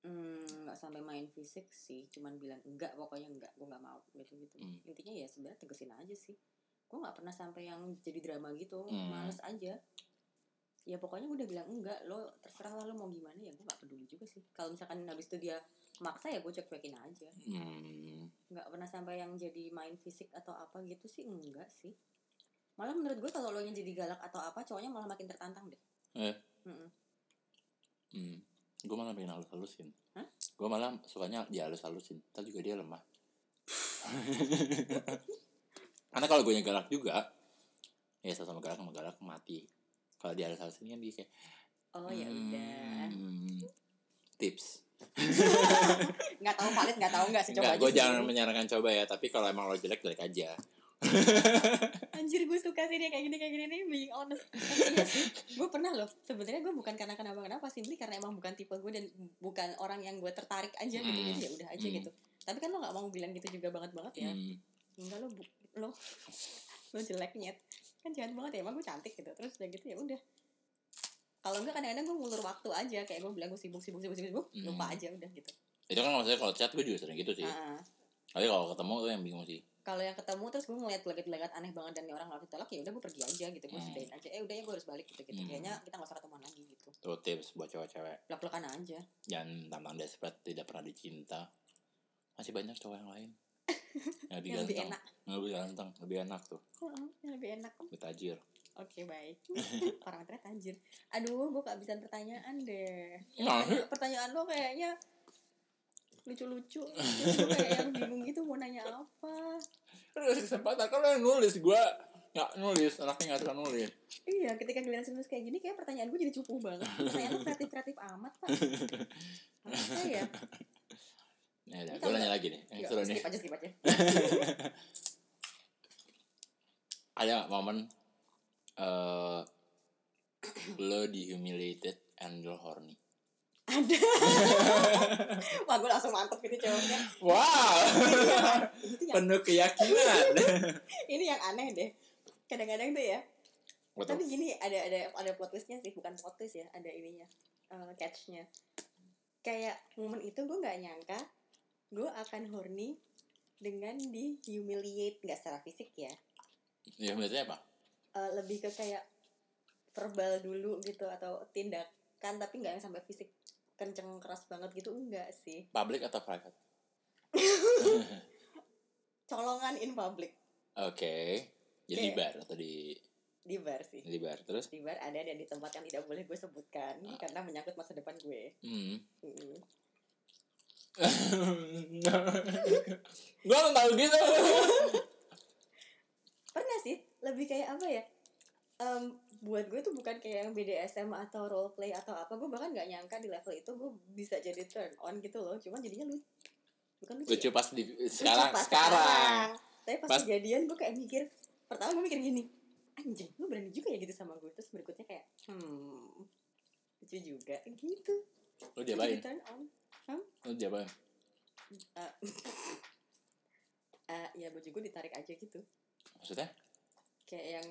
Hmm, nggak sampai main fisik sih cuman bilang enggak pokoknya enggak gue nggak mau gitu gitu
Hmm.
intinya ya sebenarnya tegesin aja sih gue nggak pernah sampai yang jadi drama gitu
Hmm.
males aja ya pokoknya gue udah bilang enggak lo terserah lah lo mau gimana ya gue nggak peduli juga sih kalau misalkan habis itu dia maksa ya gue cuek-cuekin aja
Hmm,
nggak pernah sampai yang jadi main fisik atau apa gitu sih enggak sih malah menurut gue kalau lo nya jadi galak atau apa cowoknya malah makin tertantang deh
Eh.
Mm-mm.
hmm. Gue malah pengen halus-halusin.
Hah?
Gue malah sukanya dihalus-halusin. Tapi juga dia
[laughs]
lemah. karena kalau gue galak juga, ya sama-sama galak sama galak mati. Kalau dihalus-halusin kan dia kayak
oh ya
hmm,
udah
hmm. Tips.
nggak tahu valid nggak tahu nggak sih coba
Enggak,
aja
gue jangan
sendiri.
menyarankan coba ya, tapi kalau emang lo jelek, jelek aja.
Anjir gue suka sih dia kayak gini kayak gini nih being
[laughs]
honest. Tapi iya sih, gue pernah loh. Sebenarnya gue bukan karena kenapa kenapa simply karena emang bukan tipe gue dan bukan orang yang gue tertarik aja gitu.
Hmm.
Jadi ya udah aja
Hmm.
gitu. Tapi kan lo gak mau bilang gitu juga banget banget ya.
Hmm.
Enggak lo bu- lo [laughs] lo jelek nyet. Kan jahat banget ya emang gue cantik gitu. Terus udah gitu ya udah. Kalau enggak kadang-kadang gue ngulur waktu aja kayak gue bilang gue sibuk sibuk sibuk sibuk sibuk
Hmm.
lupa aja udah gitu.
Itu kan maksudnya kalau chat gue juga sering gitu sih.
Ah, ah.
Tapi kalau ketemu tuh yang bingung sih.
kalau yang ketemu terus gue ngeliat gelagat-gelagat aneh banget dan ini orang nggak ditolak ya udah gue pergi aja gitu gue
Hmm.
sudahin aja eh udah ya gue harus balik gitu gitu
Hmm.
kayaknya kita nggak usah ketemuan lagi gitu
Tuh tips buat cewek-cewek.
belak-belakan aja
Jangan tantang desperate, tidak pernah dicinta. Masih banyak cowok yang
[laughs]
lain. Yang lebih
yang lebih
ganteng.
enak
Yang lebih ganteng, lebih enak tuh.
Heeh, yang lebih enak oke
Lebih tajir.
baik [laughs] orang ternyata anjir aduh gue kehabisan pertanyaan deh
Nah,
Pertanyaan- pertanyaan lo kayaknya lucu-lucu gue kayak yang bingung gitu mau nanya apa
lu kasih kesempatan. Kalau yang nulis, gue nggak nulis. Anaknya nggak suka nulis.
iya ketika giliran serius kayak gini kayak pertanyaan gue jadi cupu banget pertanyaan lo kreatif-kreatif amat
[laughs]
pak apa ya
Ya, udah,
Ini
gue
kalau-
nanya lagi nih. Yang
Yuk,
seru nih.
skip aja skip aja
ada nggak momen eh lo dihumiliated and lo horny
ada wah gue langsung mantep gitu jawabnya
wow iya.
itu yang
penuh [laughs] keyakinan
ini yang aneh deh kadang-kadang tuh ya
Betul.
tapi gini ada ada ada plot twistnya sih bukan plot twist ya ada ininya eh, catchnya kayak momen itu gue nggak nyangka gue akan horny dengan di humiliate nggak secara fisik ya
ya maksudnya apa
Eh, lebih ke kayak verbal dulu gitu atau tindakan tapi nggak yang sampai fisik kenceng keras banget gitu enggak sih
public atau private
colongan in public
oke jadi di
Kayak-
bar atau di
di bar sih
di bar terus
di bar ada dan di tempat yang tidak boleh gue sebutkan
Ah.
karena menyangkut masa depan gue
[laughs] hmm.
Mm.
gue nggak tahu gitu
pernah sih lebih kayak apa ya Em, buat gue tuh bukan kayak yang BDSM atau role play atau apa gue bahkan nggak nyangka di level itu gue bisa jadi turn on gitu loh cuman jadinya lu bukan lucu,
lucu
ya?
pas di
Lucu
sekarang
pas
sekarang
tapi pas,
Pas-
kejadian gue kayak mikir pertama gue mikir gini anjing lu berani juga ya gitu sama gue terus berikutnya kayak hmm lucu juga gitu
lo
Gue jadi
diapain
turn on
lo diapain
Eh, ya baju gue ditarik aja gitu
maksudnya
kayak yang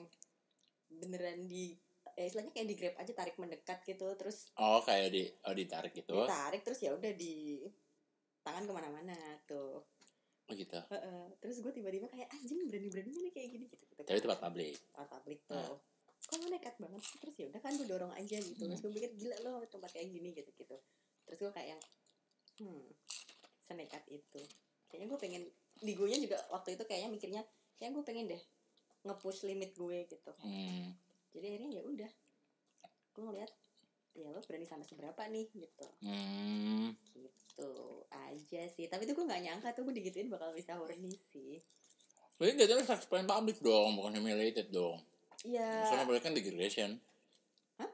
beneran di ya istilahnya kayak di grab aja tarik mendekat gitu terus
oh kayak di oh ditarik gitu oh
ditarik terus ya udah di tangan kemana-mana tuh
gitu
Heeh. terus gue tiba-tiba kayak anjing berani-beraninya nih kayak gini gitu gitu
tapi tempat publik
tempat publik tuh
Ah.
kok lu nekat banget sih terus ya udah kan gue dorong aja gitu terus gue pikir gila loh tempat kayak gini gitu gitu terus gue kayak yang hmm senekat itu kayaknya gue pengen di gue juga waktu itu kayaknya mikirnya kayak gue pengen deh nge-push limit gue gitu
hmm.
jadi akhirnya ya udah gue ngeliat ya lo berani sampai seberapa nih gitu
Hmm.
gitu aja sih tapi itu gue nggak nyangka tuh gue digituin bakal bisa horny sih
Berarti jatuhnya sex point public dong, bukan humiliated dong. Soalnya
iya
boleh kan degradation.
Hah?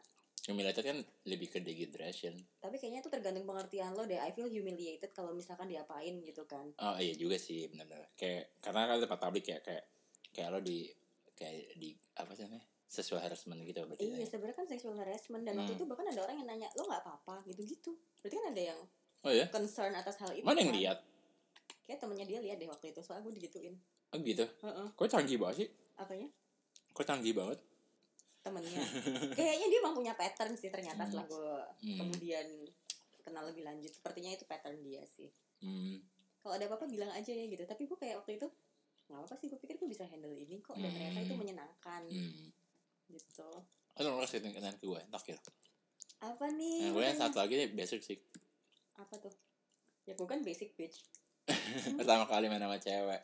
Humiliated kan lebih ke degradation.
tapi kayaknya itu tergantung pengertian lo deh I feel humiliated kalau misalkan diapain gitu kan
Oh iya juga sih benar-benar. Kayak karena kan tempat publik ya kayak kayak lo di kayak di apa sih namanya? Sesuai harassment gitu berarti.
iya
ya.
sebenarnya kan sexual harassment dan waktu
Hmm.
itu bahkan ada orang yang nanya lo nggak apa-apa gitu-gitu berarti kan ada yang
Oh iya.
concern atas hal itu
Mana yang
kan?
lihat?
kayak temennya dia lihat deh waktu itu soalnya gue digituin
Oh gitu.
Heeh.
Kok canggih banget sih?
apanya
Kok canggih banget? [laughs]
temennya kayaknya dia emang punya pattern sih ternyata
Hmm.
setelah gue
Hmm.
kemudian kenal lebih lanjut sepertinya itu pattern dia sih
Hmm.
kalau ada apa-apa bilang aja ya gitu tapi gue kayak waktu itu nggak apa sih gue pikir gue bisa handle ini kok dan ternyata itu
Hmm.
menyenangkan
Hmm.
gitu
Lo lo kasih tanya ke gue, terakhir.
apa
Nah,
nih
gue yang
makanya?
satu lagi deh, basic sih.
apa tuh ya gue kan basic bitch
Pertama kali main sama cewek.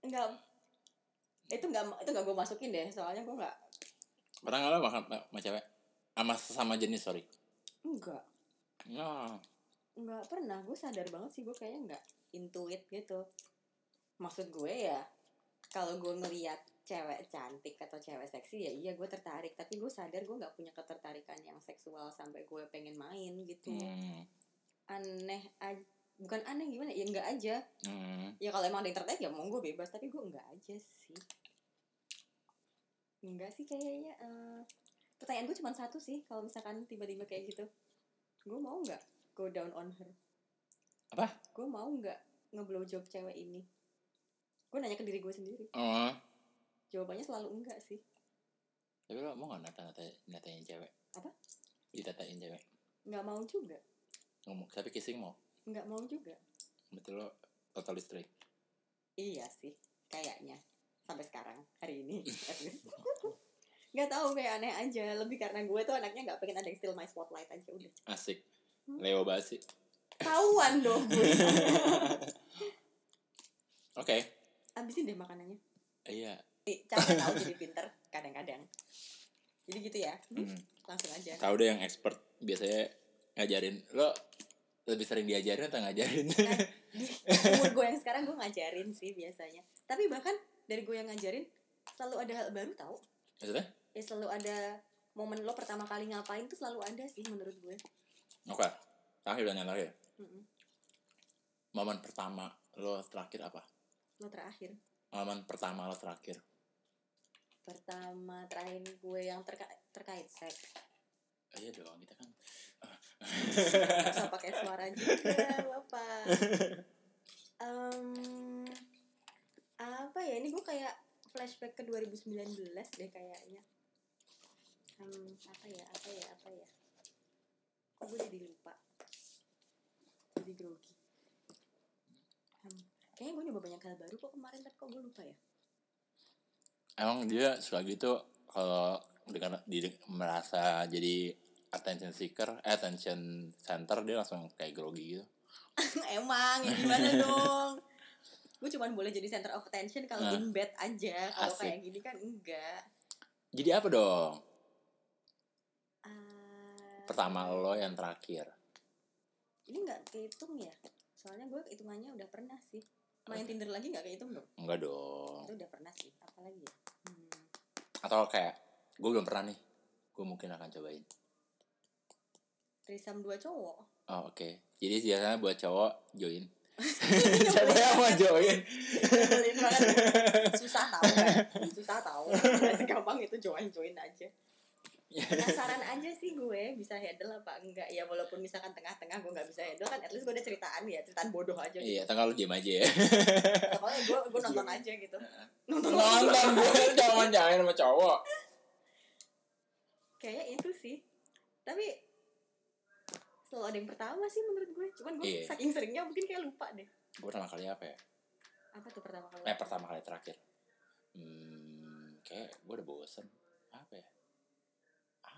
enggak itu enggak itu enggak gue masukin deh soalnya gue enggak
Pernah nggak lo makan eh, sama cewek? Sama sesama jenis, sorry.
enggak
Ya.
Iya. enggak pernah gue sadar banget sih gue kayaknya enggak intuit gitu maksud gue ya kalau gue ngeliat cewek cantik atau cewek seksi ya iya gue tertarik tapi gue sadar gue nggak punya ketertarikan yang seksual sampai gue pengen main gitu
Hmm.
aneh aja bukan aneh gimana ya enggak aja
Hmm.
ya kalau emang ada yang tertarik ya monggo bebas tapi gue enggak aja sih enggak sih kayaknya eh, pertanyaan gue cuma satu sih kalau misalkan tiba-tiba kayak gitu gue mau nggak go down on her
Apa?
gue mau nggak ngeblowjob cewek ini gue nanya ke diri gue sendiri
Oh.
jawabannya selalu enggak sih
Tapi lo mau gak nata nata natain cewek?
Apa?
Ditatain cewek.
nggak mau juga
Ngomong, tapi kissing mau.
nggak mau juga
Berarti lo total straight.
Iya sih, kayaknya sampai sekarang hari ini. at least. Nggak tahu kayak aneh aja, lebih karena gue tuh anaknya nggak pengen ada yang steal my spotlight aja udah.
Asik.
Hmm.
Leo basi.
Tahuan dong gue.
Oke.
Abisin deh makanannya.
Iya.
Nih, capek tahu jadi pinter kadang-kadang. Jadi gitu ya.
Hmm.
Langsung aja.
Tahu deh yang expert biasanya ngajarin lo lebih sering diajarin atau ngajarin? [laughs]
Umur gue yang sekarang gue ngajarin sih biasanya. Tapi bahkan dari gue yang ngajarin selalu ada hal baru tahu.
Maksudnya?
Ya selalu ada momen lo pertama kali ngapain tuh selalu ada sih menurut gue.
Oke. Terakhir dan yang terakhir.
Mm-mm.
Momen pertama lo terakhir apa?
Lo terakhir.
Momen pertama lo terakhir.
pertama terakhir gue yang terka- terkait seks
Oh, iya dong, kita kan.
Gak usah pakai suara juga
[laughs]
bapak Em, apa ya ini gue kayak flashback ke 2019 deh kayaknya Em, apa ya apa ya apa ya kok gue jadi lupa jadi grogi Em, kayaknya gue nyoba banyak hal baru kok kemarin tapi kok gue lupa ya [laughs]
Emang dia suka gitu kalau dengan di, merasa jadi attention seeker, eh, attention center dia langsung kayak grogi gitu.
emang ya
[laughs]
gimana dong gue cuman boleh jadi center of attention kalau
Nah.
in bed aja kalau
Asik.
kayak gini kan enggak
Jadi apa dong?
Ah.
Pertama lo yang terakhir.
ini nggak kehitung ya soalnya gue hitungannya udah pernah sih main
Apa?
tinder lagi nggak kehitung dong
Enggak dong.
itu udah pernah sih apalagi ya hmm.
Atau kayak gue belum pernah nih. Gue mungkin akan cobain.
Trisam dua cowok
Oh, oke. Jadi biasanya buat cowok [laughs] join.
Siapa
Siapa yang mau join?
Nyebelin Iya, banget. susah tau kan susah tau Nggak segampang itu join join aja penasaran aja sih gue bisa handle apa enggak ya walaupun misalkan tengah-tengah gue nggak bisa handle kan at least gue ada ceritaan ya ceritaan bodoh aja gitu
Iya, atau kalau diem aja ya.
kalau gue gue nonton aja gitu nonton
[laughs] Nonton gue jangan jangan sama cowok.
kayaknya itu sih tapi selalu ada yang pertama sih menurut gue cuman gue
Iya.
saking seringnya mungkin kayak lupa deh
Gue pertama kali apa ya?
apa tuh pertama kali
Eh, pertama kali terakhir. Hmm, kayak gue udah bosen. Apa ya?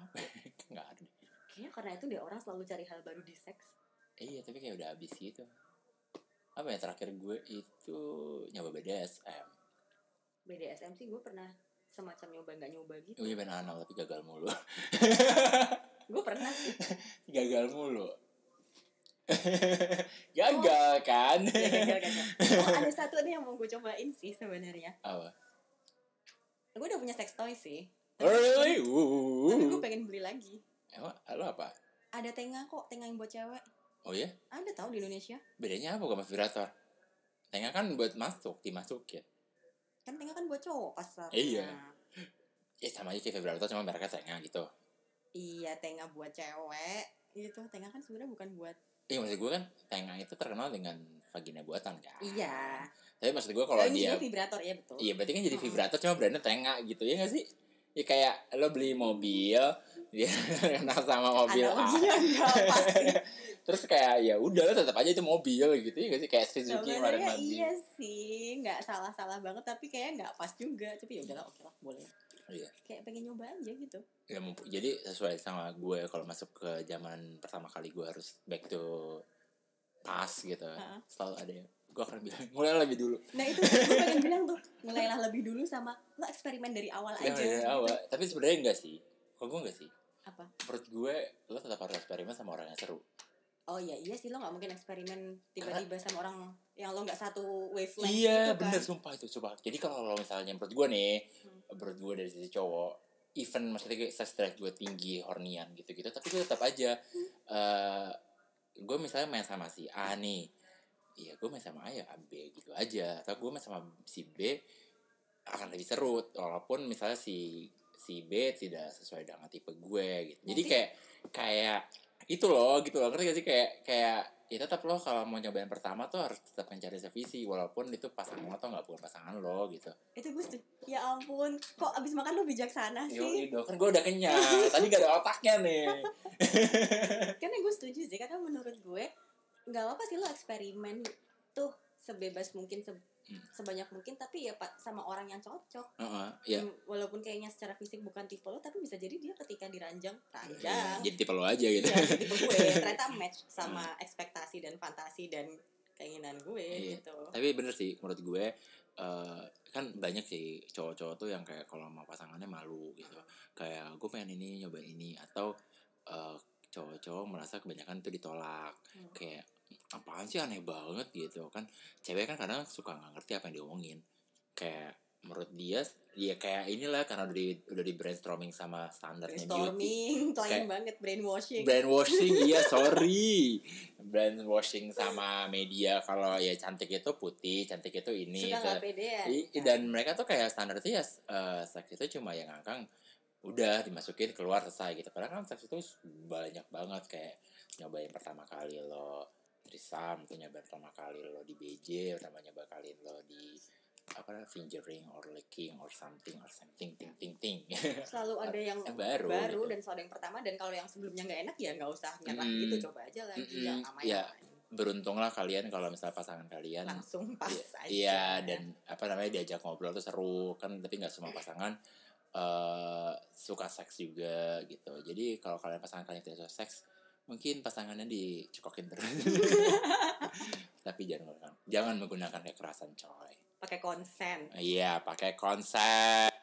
Apa ya? [laughs] Nggak ada deh.
kayaknya karena itu deh orang selalu cari hal baru di seks
Eh, iya, tapi kayak udah habis gitu. Apa ya? Terakhir gue itu nyoba BDSM.
BDSM sih gue pernah semacam nyoba nggak nyoba gitu
Oh iya, bener anal, tapi gagal mulu.
gue pernah
[laughs]
sih
gagal mulu. [laughs] gagal kan?
Ya, gagal, gagal. Oh, ada satu nih yang mau gue cobain sih sebenarnya
Apa?
gue udah punya sex toy sih
Oh, really?
tapi
Wuh.
gue pengen beli lagi
Emang lo apa?
ada tengah kok tengah yang buat cewek
Oh ya?
ada tau di Indonesia
Bedanya apa sama vibrator? Tengah kan buat masuk, ya? dimasukin.
kan tengah kan buat cowok Nah, pasar
Iya. Ya sama aja kayak vibrator cuma mereka tengah gitu.
iya tengah buat cewek gitu tengah kan sebenarnya bukan buat
Iya maksud gue kan tengah itu terkenal dengan vagina buatan kan.
iya
Tapi maksud gue kalau
Oh, ini
dia
juga vibrator ya betul
Iya berarti kan jadi
Mm.
vibrator cuma brandnya tengah gitu ya gak sih? Ya kayak lo beli mobil, dia [laughs] kenal sama mobil
analoginya
A.
nggak pas
[laughs]
sih
Terus kayak ya udah lo tetap aja itu mobil gitu ya gak sih? Kayak Suzuki kemarin
sebenarnya
mandi.
iya sih nggak salah salah banget tapi kayak nggak pas juga tapi ya udahlah oke lah boleh
Iya.
kayak pengen nyoba aja gitu
Ya, mumpu- jadi sesuai sama gue kalau masuk ke zaman pertama kali gue harus back to past gitu
Heeh.
selalu ada yang gue akan bilang [laughs] mulai lebih dulu
nah itu gue pengen bilang tuh mulailah lebih dulu sama lo eksperimen dari awal
Ya,
aja
dari
gitu.
awal tapi sebenarnya enggak sih kalau gue enggak sih
apa
menurut gue lo tetap harus eksperimen sama orang yang seru
oh iya iya sih lo nggak mungkin eksperimen tiba-tiba sama orang yang lo nggak satu
iya
wavelength gitu kan. Hmm.
bener sumpah itu coba jadi kalau lo misalnya menurut gue nih menurut gue dari sisi cowok even maksudnya kayak sex drive gue tinggi hornian gitu gitu tapi gue tetap aja eh gue misalnya main sama si A nih Iya gue main sama A ya B gitu aja atau gue main sama si B akan lebih seru walaupun misalnya si si B tidak sesuai dengan tipe gue gitu jadi
Nanti-
kayak kayak itu loh gitu loh ngerti gak sih kayak kayak ya tetap lo kalau mau nyobain pertama tuh harus tetap mencari sevisi walaupun itu pasangan lo atau nggak bukan pasangan lo gitu
itu gue setuju. ya ampun kok abis makan lo bijaksana sih
Yo, dong kan gue udah
[laughs]
kenyang. Tadi gak ada otaknya nih.
karena gue setuju sih karena menurut gue nggak apa sih lo eksperimen tuh sebebas mungkin se-
Hmm.
sebanyak mungkin tapi ya pak sama orang yang cocok
Heeh, ya.
Hmm, walaupun kayaknya secara fisik bukan tipe lo tapi bisa jadi dia ketika diranjang
Ya.
ranjang
Iya, Jadi tipe lo aja gitu.
ya jadi tipe gue ternyata match sama ekspektasi dan fantasi dan keinginan gue
Hmm. Iya.
gitu
Tapi bener sih menurut gue eh, kan banyak sih cowok-cowok tuh yang kayak kalau sama pasangannya malu gitu. Kayak gue pengen ini nyoba ini atau eh, cowok-cowok merasa kebanyakan tuh ditolak.
Hmm.
Kayak apaan sih aneh banget gitu kan. Cewek kan kadang suka nggak ngerti apa yang diomongin. Kayak menurut dia ya kayak inilah karena udah di udah di brainstorming sama standarnya beauty
[laughs] Storming,
Kayak-
lain banget brainwashing.
brainwashing
[laughs]
iya sorry brainwashing sama media kalau ya cantik itu putih cantik itu ini
Suka
itu.
nggak pede ya?
I- dan mereka tuh kayak standarnya ya eh, seks itu cuma yang ngangkang udah dimasukin keluar selesai gitu padahal kan seks itu banyak banget kayak nyoba yang pertama kali lo trisam itu nyoba pertama kali lo di BJ pertama nyoba kali lo di apa namanya, fingering or licking or something or something ting ting ting [laughs]
selalu ada yang
Yang baru,
Oh, baru,
gitu.
dan selalu ada yang pertama dan kalau yang sebelumnya nggak enak ya nggak usah nyerah
Mm.
gitu coba aja lagi
Mm-mm.
yang aman
Ya.
aman.
beruntunglah kalian kalau misalnya pasangan kalian
langsung pas aja
Iya dan apa namanya diajak ngobrol tuh seru kan tapi nggak semua pasangan eh suka seks juga gitu jadi kalau kalian pasangan kalian tidak suka seks mungkin pasangannya dicekokin terus
[laughs]
tapi jangan menggunakan jangan menggunakan kekerasan coy
pakai konsen
iya pakai konsep